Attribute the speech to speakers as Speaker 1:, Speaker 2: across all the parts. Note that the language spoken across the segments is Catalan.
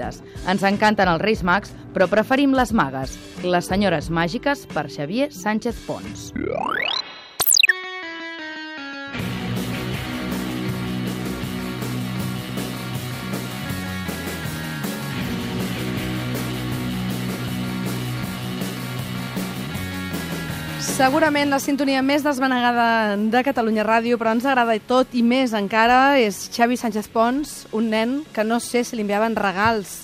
Speaker 1: Des. Ens encanten els Reis Mags, però preferim les magues. Les senyores màgiques per Xavier Sánchez Pons.
Speaker 2: Segurament la sintonia més desmanegada de Catalunya Ràdio, però ens agrada tot i més encara, és Xavi Sánchez Pons, un nen que no sé si li enviaven regals.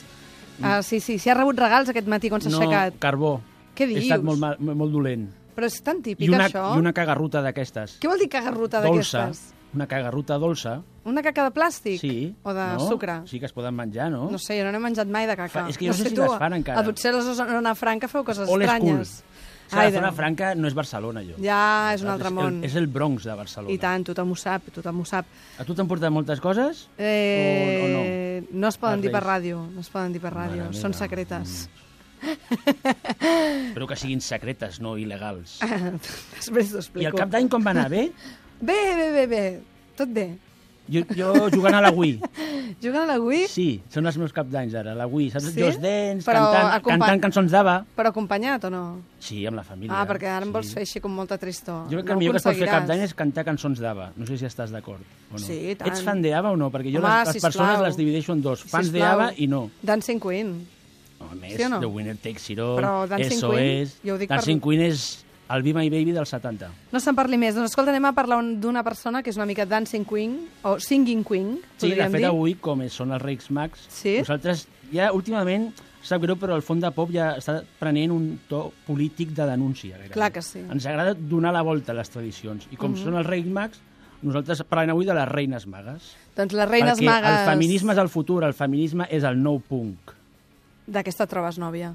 Speaker 2: Ah, sí, sí, si ha rebut regals aquest matí quan s'ha
Speaker 3: Mm. no,
Speaker 2: aixecat.
Speaker 3: carbó.
Speaker 2: Què dius?
Speaker 3: He estat molt, mal, molt dolent.
Speaker 2: Però és tan típic,
Speaker 3: I una,
Speaker 2: això.
Speaker 3: I una cagarruta d'aquestes.
Speaker 2: Què vol dir cagarruta
Speaker 3: Dolça.
Speaker 2: d'aquestes?
Speaker 3: Una cagarruta dolça.
Speaker 2: Una caca de plàstic?
Speaker 3: Sí.
Speaker 2: O de
Speaker 3: no?
Speaker 2: sucre?
Speaker 3: Sí que es poden menjar, no?
Speaker 2: No sé, jo no n'he menjat mai de
Speaker 3: Fa-
Speaker 2: caca.
Speaker 3: és que jo no sé si
Speaker 2: tu.
Speaker 3: les fan encara.
Speaker 2: Ah, potser a la zona franca feu coses
Speaker 3: Old school.
Speaker 2: estranyes.
Speaker 3: O sigui, la
Speaker 2: Ai,
Speaker 3: zona
Speaker 2: de-
Speaker 3: franca no és Barcelona, jo.
Speaker 2: Ja, és un altre món.
Speaker 3: El, és el Bronx de Barcelona.
Speaker 2: I tant, tothom ho sap, tothom ho sap.
Speaker 3: A tu t'han portat moltes coses?
Speaker 2: Eh, no? no es poden
Speaker 3: Els
Speaker 2: dir per
Speaker 3: Reis.
Speaker 2: ràdio, no es poden dir per
Speaker 3: Mare
Speaker 2: ràdio,
Speaker 3: meva.
Speaker 2: són secretes.
Speaker 3: Mm. Espero que siguin secretes, no il·legals.
Speaker 2: Ah, Després t'ho
Speaker 3: I
Speaker 2: explico.
Speaker 3: el cap d'any com va anar? Bé?
Speaker 2: Bé, bé, bé, bé, tot bé.
Speaker 3: Jo, jo jugant a la Wii.
Speaker 2: Jugant a la Wii,
Speaker 3: Sí, són els meus cap d'anys ara, la Wii. Saps?
Speaker 2: Sí?
Speaker 3: Jo els dents,
Speaker 2: Però
Speaker 3: cantant,
Speaker 2: acompa-
Speaker 3: cantant cançons d'Ava.
Speaker 2: però acompanyat o no?
Speaker 3: Sí, amb la família.
Speaker 2: Ah, perquè ara em
Speaker 3: sí.
Speaker 2: vols fer així com molta tristor.
Speaker 3: Jo crec que
Speaker 2: no
Speaker 3: el millor que es pot fer
Speaker 2: aconseguiràs.
Speaker 3: cap d'any és cantar cançons d'Ava. No sé si estàs d'acord o no.
Speaker 2: Sí, i tant.
Speaker 3: Ets fan d'Ava o no? Perquè jo
Speaker 2: Home,
Speaker 3: les, les
Speaker 2: sisplau.
Speaker 3: persones les divideixo en dos. Fans
Speaker 2: Sisplau.
Speaker 3: d'Ava i no.
Speaker 2: Dancing Queen.
Speaker 3: A més,
Speaker 2: Sí o no?
Speaker 3: The Winner Takes It All,
Speaker 2: Però Dancing
Speaker 3: SOS...
Speaker 2: Queen, jo ho dic per-
Speaker 3: Dancing Queen és el Be My Baby del 70.
Speaker 2: No se'n parli més. Doncs escolta, anem a parlar un- d'una persona que és una mica Dancing Queen, o Singing Queen,
Speaker 3: Sí, de
Speaker 2: podríem
Speaker 3: fet,
Speaker 2: dir.
Speaker 3: avui, com és- són els Reis Mags,
Speaker 2: Sí.
Speaker 3: nosaltres ja últimament, sap greu, però el fond de pop ja està prenent un to polític de denúncia. Gairebé.
Speaker 2: Clar que sí. Mhm.
Speaker 3: Ens agrada donar la volta a les tradicions. I com són els Reis Mags, nosaltres parlem avui de les Reines Magues.
Speaker 2: Doncs les Reines
Speaker 3: Perquè
Speaker 2: Magues
Speaker 3: el feminisme és el futur, el feminisme és el nou punk.
Speaker 2: d'aquesta trobes nòvia.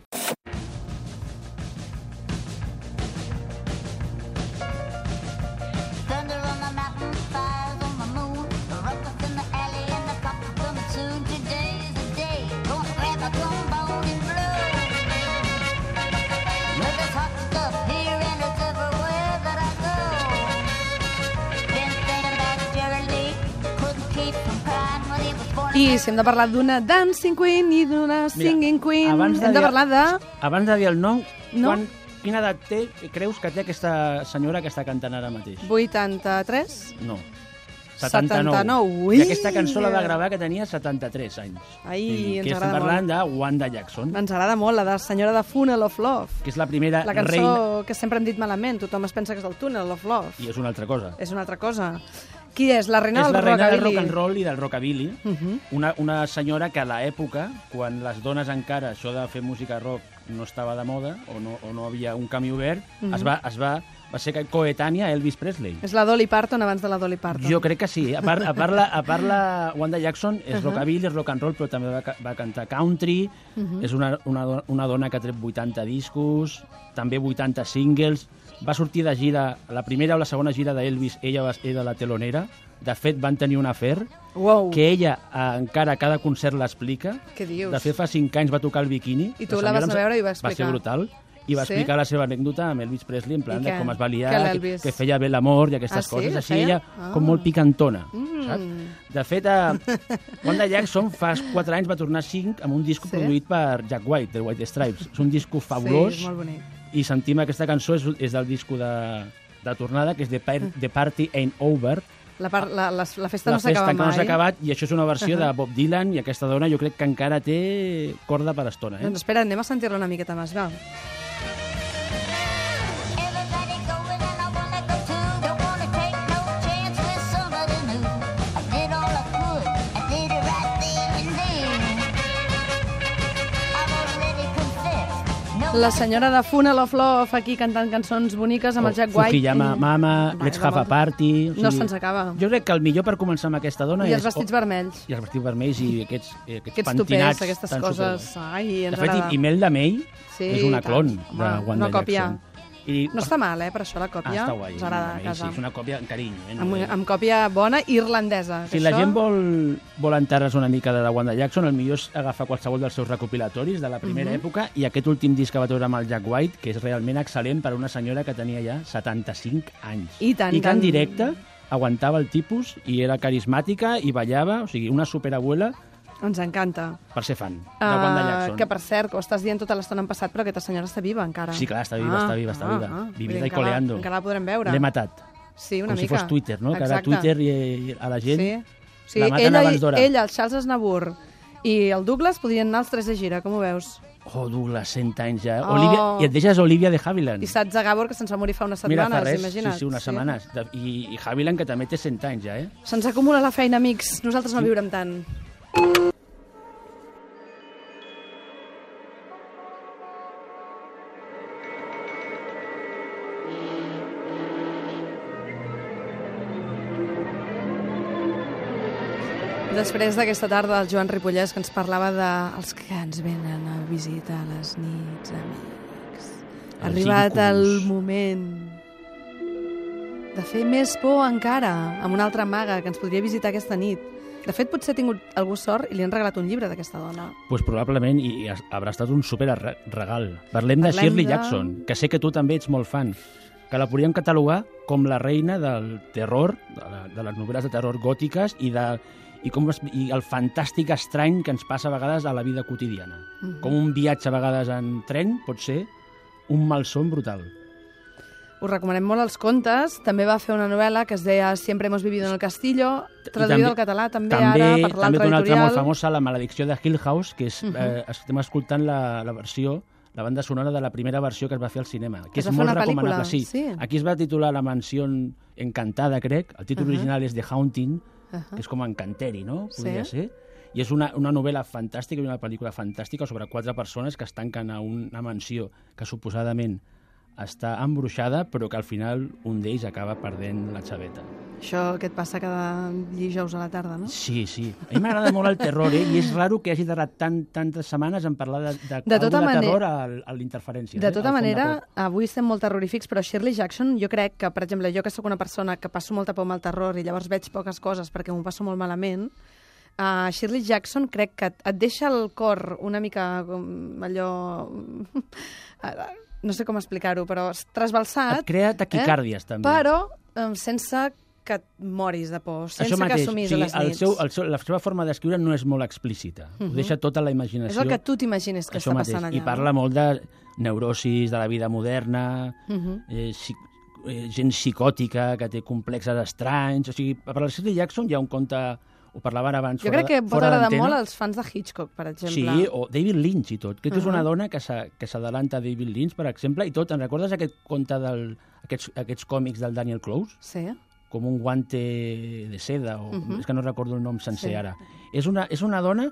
Speaker 4: Thunder on the mountain, fires on the moon. A ruckus in the alley and the cops are coming soon. Today's the day. Gonna grab a trombone and blow. Well, there's hot stuff here and it's everywhere that I go. Been thinking about Jerry Lee. Couldn't keep from crying when he was born.
Speaker 2: I si hem de parlar d'una Dancing Queen i d'una Singing Queen,
Speaker 3: abans de
Speaker 2: hem de
Speaker 3: dir-
Speaker 2: parlar de...
Speaker 3: Abans de dir el nom,
Speaker 2: No.
Speaker 3: quan, quina edat té, creus que té aquesta senyora que està cantant ara mateix?
Speaker 2: 83?
Speaker 3: No.
Speaker 2: 79. Ui!
Speaker 3: I aquesta cançó la va gravar que tenia 73 anys.
Speaker 2: Ai,
Speaker 3: I
Speaker 2: ens
Speaker 3: que estem
Speaker 2: agrada
Speaker 3: parlant de Wanda Jackson,
Speaker 2: Ens agrada molt la de Senyora de Funnel of Love,
Speaker 3: que és la primera
Speaker 2: la cançó
Speaker 3: Ah, reina...
Speaker 2: que sempre hem dit malament, tothom es pensa que és el Tunnel of Love.
Speaker 3: I és una altra cosa.
Speaker 2: És una altra cosa. Qui és? La reina
Speaker 3: és
Speaker 2: del
Speaker 3: la reina del rock
Speaker 2: rockabilly? Mhm.
Speaker 3: and roll i del rockabilly. una, una senyora que a l'època, quan les dones encara això de fer música rock no estava de moda o no, o no havia un camí obert,
Speaker 2: Mhm.
Speaker 3: es va, es va, va ser coetània a Elvis Presley.
Speaker 2: És la Dolly Parton abans de la Dolly Parton.
Speaker 3: Jo crec que sí. A part, a part, la, a part la Wanda Jackson és rockabilly, és rock and roll, però també va, ca- va cantar country. És una, una, do- una dona que ha tret 80 discos, també 80 singles. Va sortir de gira, la primera o la segona gira d'Elvis, ella va ser de la telonera. De fet, van tenir un afer
Speaker 2: Wow.
Speaker 3: que ella eh, encara a cada concert l'explica.
Speaker 2: Què dius?
Speaker 3: De fet, fa 5 anys va tocar el biquini.
Speaker 2: I tu la vas
Speaker 3: senyora ens-
Speaker 2: anar a veure i va
Speaker 3: Va ser
Speaker 2: explicar.
Speaker 3: brutal. I va
Speaker 2: Sí?
Speaker 3: explicar la seva anècdota amb Elvis Presley, en
Speaker 2: I
Speaker 3: plan de
Speaker 2: què?
Speaker 3: com es va
Speaker 2: Que
Speaker 3: liar, que,
Speaker 2: l'Elvis-
Speaker 3: que feia bé l'amor i aquestes
Speaker 2: Ah, sí?
Speaker 3: coses.
Speaker 2: La
Speaker 3: Així
Speaker 2: feia?
Speaker 3: ella,
Speaker 2: Ah. Mm.
Speaker 3: com molt picantona, saps? De fet, eh, Wanda Jackson fa 4 anys va tornar 5 amb un disco
Speaker 2: Sí?
Speaker 3: produït per Jack White, The White Stripes. És un disco fabulós
Speaker 2: Sí, és molt bonic.
Speaker 3: i sentim aquesta cançó, és, és del disco de, de tornada, que és The,
Speaker 2: Mm.
Speaker 3: Par The Party Ain't Over,
Speaker 2: La, par la, la, la festa
Speaker 3: la
Speaker 2: no
Speaker 3: festa
Speaker 2: s'acaba
Speaker 3: encara
Speaker 2: mai.
Speaker 3: no eh? s'ha acabat i això és una versió de Bob Dylan i aquesta dona jo crec que encara té corda per estona, eh?
Speaker 2: Doncs espera, anem a sentir-la una miqueta més, va.
Speaker 4: Everybody going and I wanna go too. Don't wanna take no chance with somebody new. I did all I could. I did it right there and then. I've already confessed. No
Speaker 2: La senyora de Funnel of Love aquí cantant cançons boniques amb el
Speaker 3: O
Speaker 2: Jack White.
Speaker 3: Fukuyama
Speaker 2: I-
Speaker 3: Mama,
Speaker 2: Va,
Speaker 3: Let's
Speaker 2: va,
Speaker 3: Have a
Speaker 2: va.
Speaker 3: Party... o
Speaker 2: No se'ns acaba.
Speaker 3: Jo crec que el millor per començar amb aquesta dona
Speaker 2: I
Speaker 3: és...
Speaker 2: els vestits vermells.
Speaker 3: I els vestits vermells i aquests, eh, aquests,
Speaker 2: Aquests
Speaker 3: pentinats
Speaker 2: tupers, aquestes
Speaker 3: tan
Speaker 2: coses.
Speaker 3: superbons.
Speaker 2: Ai, ens
Speaker 3: De fet,
Speaker 2: agrada.
Speaker 3: I- Imelda May
Speaker 2: Sí,
Speaker 3: és una
Speaker 2: i tant.
Speaker 3: clon
Speaker 2: Home,
Speaker 3: de Wanda
Speaker 2: una còpia.
Speaker 3: Jackson. I...
Speaker 2: No està mal, eh, per això la
Speaker 3: Ah,
Speaker 2: còpia.
Speaker 3: està guai.
Speaker 2: Ens agrada
Speaker 3: Imelda
Speaker 2: a
Speaker 3: May,
Speaker 2: casa.
Speaker 3: Sí, és una còpia carinyo. Eh? no
Speaker 2: amb,
Speaker 3: és-
Speaker 2: amb còpia bona irlandesa. que
Speaker 3: Si la
Speaker 2: això-
Speaker 3: gent vol, vol enterrar-se una mica de la Wanda Jackson, el millor és agafar qualsevol dels seus recopilatoris de la primera
Speaker 2: Mhm.
Speaker 3: època i aquest últim disc que va treure amb el Jack White, que és realment excel·lent per a una senyora que tenia ja 75 anys.
Speaker 2: I tant,
Speaker 3: I que
Speaker 2: tant.
Speaker 3: en directe aguantava el tipus i era carismàtica i ballava, o sigui, una superabuela
Speaker 2: Ens encanta.
Speaker 3: per ser fan de Wanda
Speaker 2: Ah,
Speaker 3: Jackson.
Speaker 2: que, per cert, ho estàs dient tota l'estona en passat, però aquesta senyora està viva encara. Ah,
Speaker 3: Sí, clar, està viva, està viva, està viva. Vivida
Speaker 2: Vull dir,
Speaker 3: i coleando.
Speaker 2: Encara, encara la podrem veure.
Speaker 3: L'he matat.
Speaker 2: Sí, una
Speaker 3: Com
Speaker 2: mica.
Speaker 3: si fos Twitter, no? Cada
Speaker 2: Exacte.
Speaker 3: Twitter i, i a la gent...
Speaker 2: Sí. O sigui,
Speaker 3: la maten
Speaker 2: ella,
Speaker 3: abans d'hora.
Speaker 2: Ella, el Charles Aznavour i el Douglas podien anar els tres de gira, com ho veus?
Speaker 3: Oh, Douglas, 100 anys ja.
Speaker 2: Oh.
Speaker 3: Olivia, I et deixes Olivia de Havilland.
Speaker 2: I Sats de Gabor, que se'ns va morir fa unes
Speaker 3: Mm. Mira,
Speaker 2: setmanes,
Speaker 3: fa res, sí,
Speaker 2: imagina't.
Speaker 3: sí, unes setmanes. De- I, I Havilland, que també té 100 anys ja, eh?
Speaker 2: Se'ns acumula la feina, amics. Nosaltres no viurem tant. Després d'aquesta tarda, el Joan Ripollès, que ens parlava de els que ens venen a visitar a les nits, amics. Ha
Speaker 3: Els
Speaker 2: arribat el
Speaker 3: incubus.
Speaker 2: moment de fer més por encara amb una altra maga que ens podria visitar aquesta nit. De fet, potser ha tingut algú sort i li han regalat un llibre d'aquesta dona.
Speaker 3: Doncs pues probablement i, i ha- haurà estat un super regal. Parlem de
Speaker 2: Parlem
Speaker 3: Shirley
Speaker 2: de-
Speaker 3: Jackson, que sé que tu també ets molt fan, que la podríem catalogar com la reina del terror, de, la, de les novel·les de terror gòtiques i, de, i, com es, i el fantàstic estrany que ens passa a vegades a la vida quotidiana.
Speaker 2: Mm-hmm.
Speaker 3: Com un viatge a vegades en tren pot ser un malson brutal.
Speaker 2: Us recomanem molt els contes. També va fer una novel·la que es deia Siempre hemos vivido en el castillo, traduïda
Speaker 3: també-
Speaker 2: al català també,
Speaker 3: també,
Speaker 2: ara per
Speaker 3: també
Speaker 2: l'altre
Speaker 3: té una altra
Speaker 2: editorial.
Speaker 3: molt famosa, La maledicció de Hill House, que és, eh, estem escoltant la, la versió la banda sonora de la primera versió que es va fer al cinema, que
Speaker 2: Es
Speaker 3: és
Speaker 2: va fer
Speaker 3: molt
Speaker 2: una
Speaker 3: recomanable.
Speaker 2: pel·lícula, sí.
Speaker 3: Aquí es va titular La mansió encantada, crec. El títol uh -huh. original és The Haunting, uh
Speaker 2: Ahà.
Speaker 3: -huh. que és com encanteri, no? Podria
Speaker 2: Sí.
Speaker 3: ser. I és una, una novel·la fantàstica i una pel·lícula fantàstica sobre quatre persones que es tanquen a una mansió que suposadament està embruixada, però que al final un d'ells acaba perdent la xaveta.
Speaker 2: Això que et passa cada dijous a la tarda, no?
Speaker 3: Sí, sí. A mi m'agrada molt el terror, eh? I és raro que hagi tardat tant, tantes setmanes en parlar de, de,
Speaker 2: De tota
Speaker 3: algo
Speaker 2: manera-
Speaker 3: terror a, a l'interferència.
Speaker 2: De
Speaker 3: eh?
Speaker 2: tota
Speaker 3: Al fons
Speaker 2: manera,
Speaker 3: tot.
Speaker 2: avui estem molt terrorífics, però Shirley Jackson, jo crec que, per exemple, jo que sóc una persona que passo molta por amb el terror i llavors veig poques coses perquè m'ho passo molt malament, uh, Shirley Jackson crec que et, et deixa el cor una mica com allò... eh, no sé com explicar-ho, però és trasbalsat. eh?
Speaker 3: Et crea taquicàrdies, també.
Speaker 2: Però um, sense que et moris de por, sense
Speaker 3: Això mateix,
Speaker 2: que
Speaker 3: o
Speaker 2: assumis
Speaker 3: sigui,
Speaker 2: a les
Speaker 3: el
Speaker 2: nits. Mhm.
Speaker 3: seu, el seu, la seva forma d'escriure no és molt explícita. Ho deixa tota la imaginació.
Speaker 2: És el que tu t'imagines que
Speaker 3: Això
Speaker 2: està
Speaker 3: mateix.
Speaker 2: passant allà.
Speaker 3: I parla molt de neurosis, de la vida moderna,
Speaker 2: Mhm.
Speaker 3: eh, psic eh, gent psicòtica que té complexes estranys... O sigui, per la Shirley Jackson hi ha un conte... Ho parlaven abans
Speaker 2: Jo
Speaker 3: fora,
Speaker 2: crec que pot
Speaker 3: fora
Speaker 2: agradar
Speaker 3: d'antena.
Speaker 2: molt als fans de Hitchcock, per exemple.
Speaker 3: Sí, o David Lynch i tot. Crec que és una dona que s'ha- que s'adalanta a David Lynch, per exemple, i tot. En recordes aquest conte del... Aquests, aquests còmics del Daniel Close?
Speaker 2: Sí.
Speaker 3: Com un guante de seda, o... És que no recordo el nom sencer
Speaker 2: Sí.
Speaker 3: ara. És una, és una dona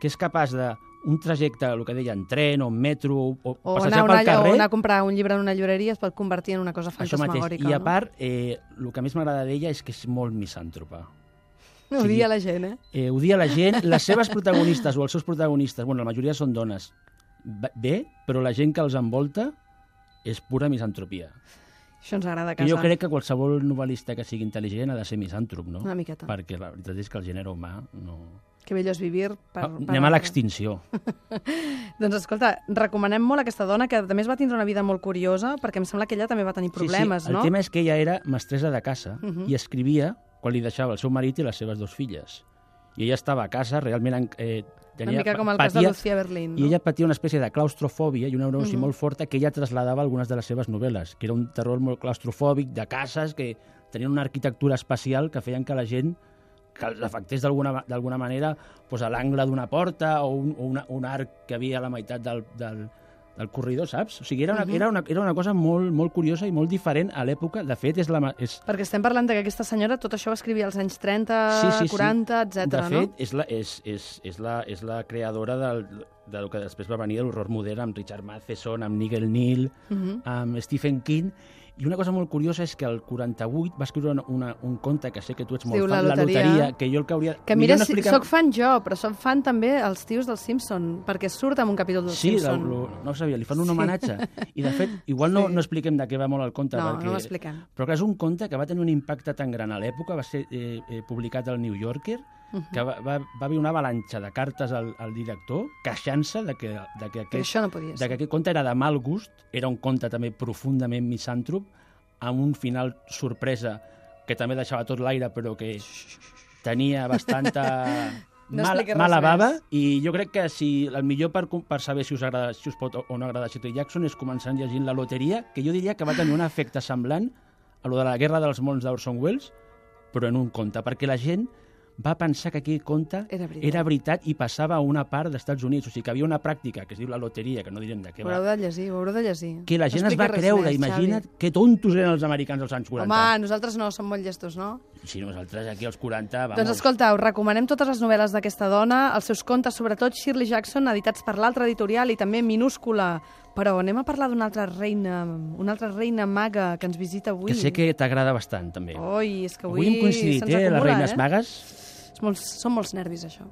Speaker 3: que és capaç de un trajecte, el que deia, en tren o en metro, o, o
Speaker 2: O anar,
Speaker 3: passejar
Speaker 2: a una,
Speaker 3: pel carrer...
Speaker 2: o anar a comprar un llibre en una llibreria es pot convertir en una cosa
Speaker 3: Això mateix.
Speaker 2: fantasmagòrica.
Speaker 3: I a part, eh, el que més m'agrada d'ella és que és molt misàntropa.
Speaker 2: No? Ho dia la gent, eh?
Speaker 3: eh, odia la gent, les seves protagonistes o els seus protagonistes, bueno, la majoria són dones, b- bé, però la gent que els envolta és pura misantropia.
Speaker 2: Això ens agrada a
Speaker 3: Que
Speaker 2: casa.
Speaker 3: jo crec que qualsevol novel·lista que sigui intel·ligent ha de ser misàntrop, no?
Speaker 2: Una miqueta.
Speaker 3: Perquè la veritat és que el gènere humà no...
Speaker 2: Que bello és vivir per...
Speaker 3: Ah,
Speaker 2: per
Speaker 3: Anem a l'extinció.
Speaker 2: Doncs escolta, recomanem molt aquesta dona, que també es va tindre una vida molt curiosa, perquè em sembla que ella també va tenir problemes,
Speaker 3: sí, sí. El
Speaker 2: no? Mhm.
Speaker 3: tema és que ella era mestressa de casa i escrivia quan li deixava el seu marit i les seves dos filles. I ella estava a casa, realment... en- Eh,
Speaker 2: Una
Speaker 3: tenia,
Speaker 2: mica com el cas de Lucía Berlín,
Speaker 3: I
Speaker 2: no?
Speaker 3: ella patia una espècie de claustrofòbia i una neurosi molt forta que ella trasladava a algunes de les seves novel·les, que era un terror molt claustrofòbic, de cases, que tenien una arquitectura espacial que feien que la gent que els afectés d'alguna ma- d'alguna manera doncs a l'angle d'una porta o un, o una, un arc que havia a la meitat del, del, del corredor, saps? O sigui, era una, era una, era una cosa molt, molt curiosa i molt diferent a l'època. De fet, és la, ma- és,
Speaker 2: Perquè estem parlant de que aquesta senyora tot això ho escrivia als anys 30, 40, etc.
Speaker 3: De fet,
Speaker 2: no?
Speaker 3: és, la, és, és, és, la, és la creadora del, del que després va venir de l'horror modern amb Richard Matheson, amb Nigel Neal,
Speaker 2: Mhm.
Speaker 3: amb Stephen King... I una cosa molt curiosa és que el 48 va escriure una, una, un conte que sé que tu ets molt
Speaker 2: diu La
Speaker 3: fan,
Speaker 2: Loteria.
Speaker 3: La loteria, que jo el que hauria...
Speaker 2: Que
Speaker 3: millor
Speaker 2: mira,
Speaker 3: no
Speaker 2: si,
Speaker 3: explicar-
Speaker 2: sóc fan jo, però sóc fan també els tios del Simpson, perquè surt en un capítol del
Speaker 3: Sí, del,
Speaker 2: Simpson.
Speaker 3: lo, no ho sabia, li fan un homenatge. I, de fet, igual no, no expliquem de què va molt el conte.
Speaker 2: No,
Speaker 3: perquè...
Speaker 2: no ho expliquem.
Speaker 3: Però que és un conte que va tenir un impacte tan gran a l'època, va ser eh, eh, publicat al New Yorker, que
Speaker 2: Uh-huh.
Speaker 3: va, va, va haver una avalanxa de cartes al, al director queixant-se de que, de
Speaker 2: Que
Speaker 3: que aquest
Speaker 2: això no podia
Speaker 3: de
Speaker 2: ser.
Speaker 3: que aquest conte era de mal gust, era un conte també profundament misàntrop, amb un final sorpresa que també deixava tot l'aire, però que tenia bastanta
Speaker 2: No
Speaker 3: mala,
Speaker 2: expliquis res
Speaker 3: mala bava,
Speaker 2: més.
Speaker 3: i jo crec que si el millor per, com- per saber si us, agrada, si us pot o no agrada Shirley Jackson és començar llegint La loteria, que jo diria que va tenir un efecte semblant a lo de la Guerra dels Mons d'Orson Welles, però en un conte, perquè la gent va pensar que aquell conte
Speaker 2: Era veritat.
Speaker 3: era veritat i passava a una part dels Estats Units. O sigui, que havia una pràctica que es diu la loteria, que no direm de què
Speaker 2: Ho haureu
Speaker 3: va,
Speaker 2: de llegir, ho haureu de llegir.
Speaker 3: que la
Speaker 2: No
Speaker 3: gent es va
Speaker 2: expliquis res
Speaker 3: creure.
Speaker 2: més,
Speaker 3: Imagina't
Speaker 2: Xavi.
Speaker 3: que tontos eren els americans als anys 40.
Speaker 2: Home, nosaltres no, som molt llestos, no?
Speaker 3: Si nosaltres aquí als 40... Vamos,
Speaker 2: Doncs escolta, us recomanem totes les novel·les d'aquesta dona, els seus contes, sobretot Shirley Jackson, editats per l'altre editorial i també minúscula. Però anem a parlar d'una altra reina, una altra reina maga que ens visita avui.
Speaker 3: que sé que t'agrada bastant, també.
Speaker 2: Oi, és que avui,
Speaker 3: Avui hem coincidit,
Speaker 2: se'ns
Speaker 3: eh, les
Speaker 2: acumula,
Speaker 3: Reines
Speaker 2: eh?
Speaker 3: Magues.
Speaker 2: És molts, són molts nervis, això.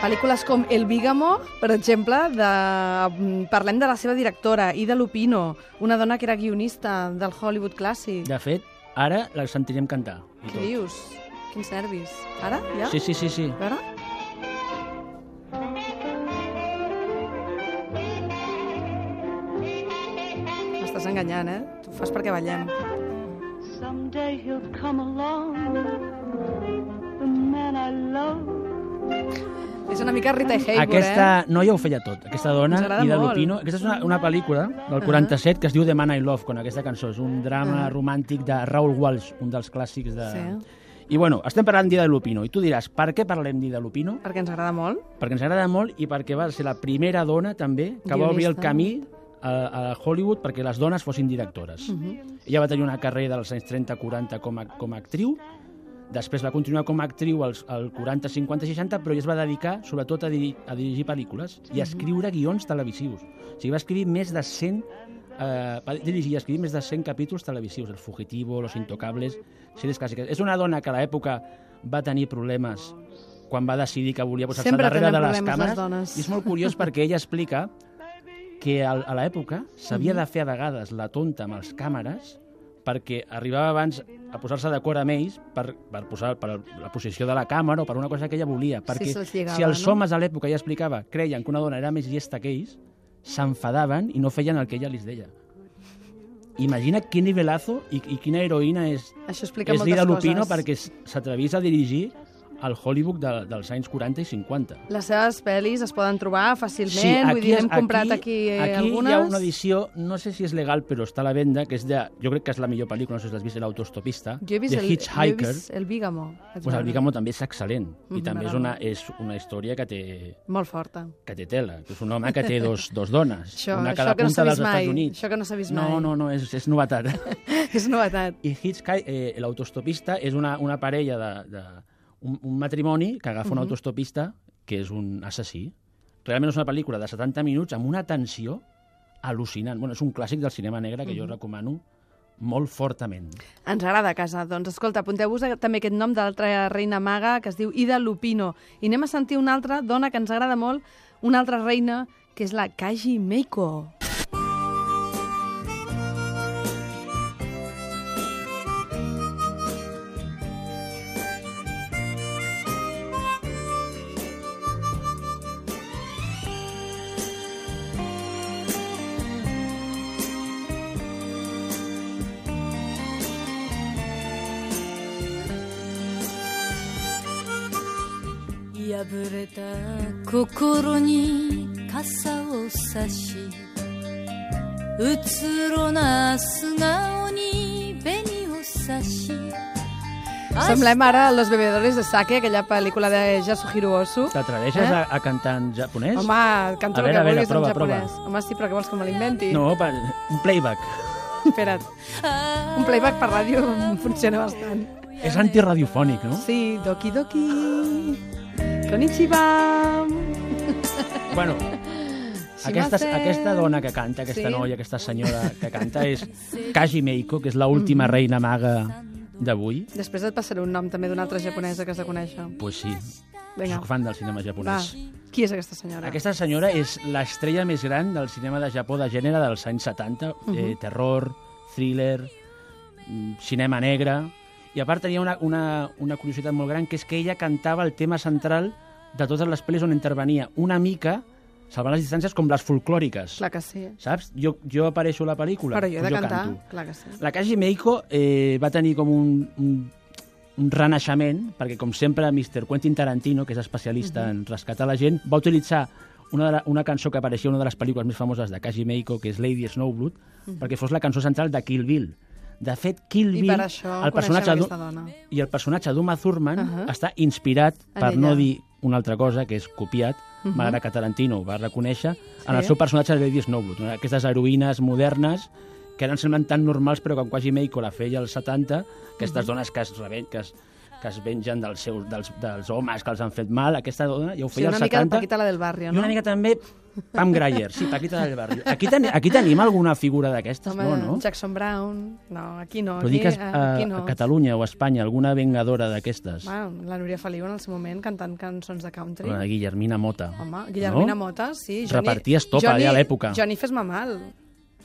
Speaker 2: Pel·lícules com El Bígamo, per exemple, de... mm, parlem de la seva directora, Ida Lupino, una dona que era guionista del Hollywood clàssic.
Speaker 3: De fet, ara la sentirem cantar. i
Speaker 2: Què
Speaker 3: tot.
Speaker 2: dius? Quins nervis. Ara? Ja?
Speaker 3: Sí, sí, sí, sí.
Speaker 2: A veure? M'estàs enganyant, eh? Tu ho fas perquè ballem.
Speaker 5: Someday he'll come along, the man I love.
Speaker 2: És una mica Rita Hayworth,
Speaker 3: Aquesta noia ho feia tot. Aquesta dona,
Speaker 2: eh? Ens agrada
Speaker 3: Ida
Speaker 2: molt.
Speaker 3: Lupino. Aquesta és una, una pel·lícula del 47 que es diu The Man I Love, con aquesta cançó. És un drama romàntic de Raoul Walsh, un dels clàssics de...
Speaker 2: Ah. Sí.
Speaker 3: I bueno, estem parlant d'Ida Lupino. I tu diràs, per què parlem d'Ida Lupino?
Speaker 2: eh? Perquè ens agrada molt.
Speaker 3: Perquè ens agrada molt i perquè va ser la primera dona, també, que va obrir el
Speaker 2: Guionista.
Speaker 3: camí a, a Hollywood perquè les dones fossin directores. Ella va tenir una carrera dels anys 30-40 com, a, com a actriu, després va continuar com a actriu als, al 40, 50, 60, però ella es va dedicar sobretot a, diri, a dirigir pel·lícules i a escriure guions televisius. O sigui, va escriure més de 100 eh, va dirigir i escriure més de 100 capítols televisius, El fugitivo, Los intocables, sèries clàssiques. És una dona que a l'època va tenir problemes quan va decidir que volia posar-se
Speaker 2: Sempre
Speaker 3: darrere de
Speaker 2: tenen
Speaker 3: les
Speaker 2: problemes les
Speaker 3: càmeres.
Speaker 2: dones.
Speaker 3: I és molt curiós perquè ella explica que al- a l'època s'havia de fer a vegades la tonta amb els càmeres perquè arribava abans a posar-se d'acord amb ells per, per posar per la posició de la càmera o per una cosa que ella volia. Perquè
Speaker 2: se'ls lligava,
Speaker 3: si els
Speaker 2: no?
Speaker 3: homes a l'època, ja explicava, creien que una dona era més llesta que ells, s'enfadaven i no feien el que ella els deia. Imagina quin nivelazo i, i quina heroïna és,
Speaker 2: Això explica
Speaker 3: és
Speaker 2: moltes
Speaker 3: Lida Lupino
Speaker 2: coses.
Speaker 3: perquè s- s'atrevís a dirigir el Hollywood de, dels anys 40 i 50.
Speaker 2: Les seves pel·lis es poden trobar fàcilment, vull dir,
Speaker 3: es-
Speaker 2: hem comprat aquí, eh,
Speaker 3: aquí
Speaker 2: algunes.
Speaker 3: hi ha una edició, no sé si és legal, però està a la venda, que és de, jo crec que és la millor pel·lícula, no sé si l'has vist, l'autostopista,
Speaker 2: Jo he vist,
Speaker 3: de
Speaker 2: el, jo he
Speaker 3: Hitchhiker.
Speaker 2: vist el Bígamo. És
Speaker 3: Pues el
Speaker 2: bona.
Speaker 3: Bigamo també és excel·lent, i
Speaker 2: Mhm,
Speaker 3: també és
Speaker 2: m'agrada
Speaker 3: una, és una història que té,
Speaker 2: Molt forta.
Speaker 3: que té tela, que és un home que té dos, dos dones,
Speaker 2: Això-
Speaker 3: una a
Speaker 2: això
Speaker 3: cada
Speaker 2: que no s'ha
Speaker 3: punta dels
Speaker 2: vist mai,
Speaker 3: Estats Units.
Speaker 2: això que no s'ha vist
Speaker 3: no,
Speaker 2: mai.
Speaker 3: No, no, és, és novetat.
Speaker 2: és novetat.
Speaker 3: I Hitchhiker, eh, l'autostopista, és una, una parella de, de un, un matrimoni que agafa un
Speaker 2: Mhm.
Speaker 3: autostopista que és un assassí. Realment és una pel·lícula de 70 minuts amb una tensió al·lucinant. Bueno, és un clàssic del cinema negre que jo
Speaker 2: Mhm.
Speaker 3: recomano molt fortament.
Speaker 2: Ens agrada a casa. Doncs escolta, apunteu-vos a- també aquest nom de l'altra reina maga que es diu Ida Lupino. I anem a sentir una altra dona que ens agrada molt, una altra reina, que és la Kaji Meiko.
Speaker 6: 破れた心に傘を差しうつろな素顔に紅を差し
Speaker 2: Semblem ara a Los Bebedores de Sake, aquella pel·lícula de Yasuhiro Ozu.
Speaker 3: T'atreveixes
Speaker 2: Eh?
Speaker 3: eh? a, a cantar en japonès?
Speaker 2: Home, canto el
Speaker 3: A veure,
Speaker 2: que
Speaker 3: a veure,
Speaker 2: vulguis
Speaker 3: prova,
Speaker 2: en
Speaker 3: prova.
Speaker 2: japonès. Home, sí, però que vols que me l'inventi?
Speaker 3: No, per, un playback.
Speaker 2: Espera't. Un playback per ràdio funciona bastant.
Speaker 3: És antiradiofònic, no?
Speaker 2: Sí, Doki Doki. Konnichiwa.
Speaker 3: Bueno, aquesta,
Speaker 2: Shimasen.
Speaker 3: aquesta dona que canta, aquesta
Speaker 2: Sí.
Speaker 3: noia, aquesta senyora que canta és Kaji Meiko, que és l'última
Speaker 2: Mhm.
Speaker 3: reina maga d'avui.
Speaker 2: Després et passaré un nom també d'una altra japonesa que has de conèixer.
Speaker 3: Pues sí,
Speaker 2: Vinga.
Speaker 3: sóc fan del cinema
Speaker 2: Va,
Speaker 3: japonès.
Speaker 2: qui és aquesta senyora?
Speaker 3: Aquesta senyora és l'estrella més gran del cinema de Japó de gènere
Speaker 2: Mhm.
Speaker 3: dels anys 70, eh, terror, thriller, mm, cinema negre, I a part tenia una, una, una curiositat molt gran, que és que ella cantava el tema central de totes les pel·lis on intervenia una mica, salvant les distàncies com les folclòriques.
Speaker 2: Clar que sí.
Speaker 3: Saps? Jo, jo apareixo a la pel·lícula,
Speaker 2: Però jo he de
Speaker 3: doncs
Speaker 2: cantar,
Speaker 3: canto.
Speaker 2: clar que sí.
Speaker 3: La Kaji Meiko eh, va tenir com un, un, un renaixement, perquè com sempre Mr. Quentin Tarantino, que és especialista
Speaker 2: Mhm.
Speaker 3: en rescatar la gent, va utilitzar una, de la, una cançó que apareixia a una de les pel·lícules més famoses de Kaji Meiko, que és Lady Snowblood, perquè fos la cançó central de Kill Bill. De fet, Kill
Speaker 2: Mhm. I
Speaker 3: Bill,
Speaker 2: per això
Speaker 3: el personatge
Speaker 2: coneixem
Speaker 3: d'U-
Speaker 2: aquesta dona.
Speaker 3: i el personatge d'Uma Thurman
Speaker 2: Ahà.
Speaker 3: està inspirat,
Speaker 2: En
Speaker 3: per
Speaker 2: ella. Mhm.
Speaker 3: no dir una altra cosa, que és copiat, malgrat que Tarantino ho va reconèixer, en el seu personatge de Lady Snowblood, una d'aquestes heroïnes modernes que ara ens semblen tan normals, però que quan quasi Meiko la feia als 70,
Speaker 2: Mhm.
Speaker 3: aquestes dones que es, reven, que es, que es vengen dels, seus, dels, dels homes que els han fet mal, aquesta dona ja ho
Speaker 2: O sigui,
Speaker 3: feia
Speaker 2: una
Speaker 3: als
Speaker 2: mica de
Speaker 3: 70.
Speaker 2: Paquita la del barri,
Speaker 3: I
Speaker 2: no?
Speaker 3: una mica també Pam Grier, sí, Paquita del Barrio. Aquí, ten, aquí tenim alguna figura d'aquestes,
Speaker 2: Home,
Speaker 3: no? no?
Speaker 2: Jackson Brown... No, aquí no. Aquí,
Speaker 3: Però
Speaker 2: eh,
Speaker 3: dic que eh, a,
Speaker 2: aquí
Speaker 3: a
Speaker 2: no.
Speaker 3: Catalunya o a Espanya, alguna vengadora d'aquestes.
Speaker 2: Bueno, la Núria Feliu en el seu moment cantant cançons de country.
Speaker 3: La Guillermina Mota.
Speaker 2: Home, Guillermina
Speaker 3: no?
Speaker 2: Mota, sí.
Speaker 3: Repartia estopa,
Speaker 2: Johnny,
Speaker 3: ja, a l'època.
Speaker 2: Johnny, fes-me mal.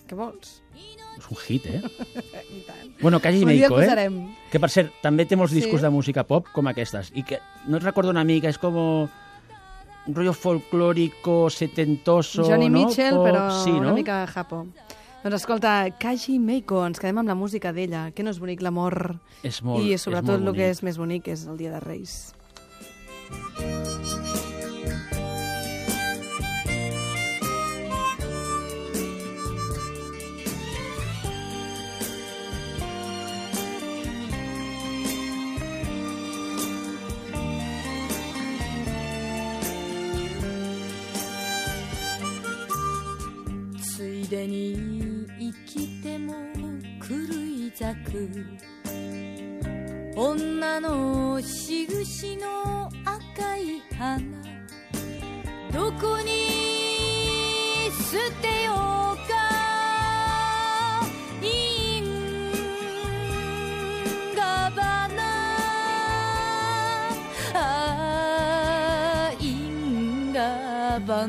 Speaker 2: Què vols?
Speaker 3: És un hit, eh?
Speaker 2: I tant.
Speaker 3: Bueno, Calli
Speaker 2: Un dia el
Speaker 3: Meiko, eh?
Speaker 2: posarem.
Speaker 3: Que, per cert, també té molts discos
Speaker 2: Sí.
Speaker 3: de música pop com aquestes. I que no et recordo una mica, és com un rollo folclórico, setentoso...
Speaker 2: Johnny
Speaker 3: no?
Speaker 2: Mitchell,
Speaker 3: Pop,
Speaker 2: però
Speaker 3: sí, no?
Speaker 2: una mica japo. Doncs escolta, Kaji Meiko, ens quedem amb la música d'ella, que no és bonic l'amor.
Speaker 3: És molt,
Speaker 2: I
Speaker 3: és
Speaker 2: sobretot
Speaker 3: molt
Speaker 2: el que
Speaker 3: bonic.
Speaker 2: és més bonic és el Dia de Reis.
Speaker 6: ついでに生きても狂い咲く女のしぐしの赤い花どこに捨てようか因果花ああ因果花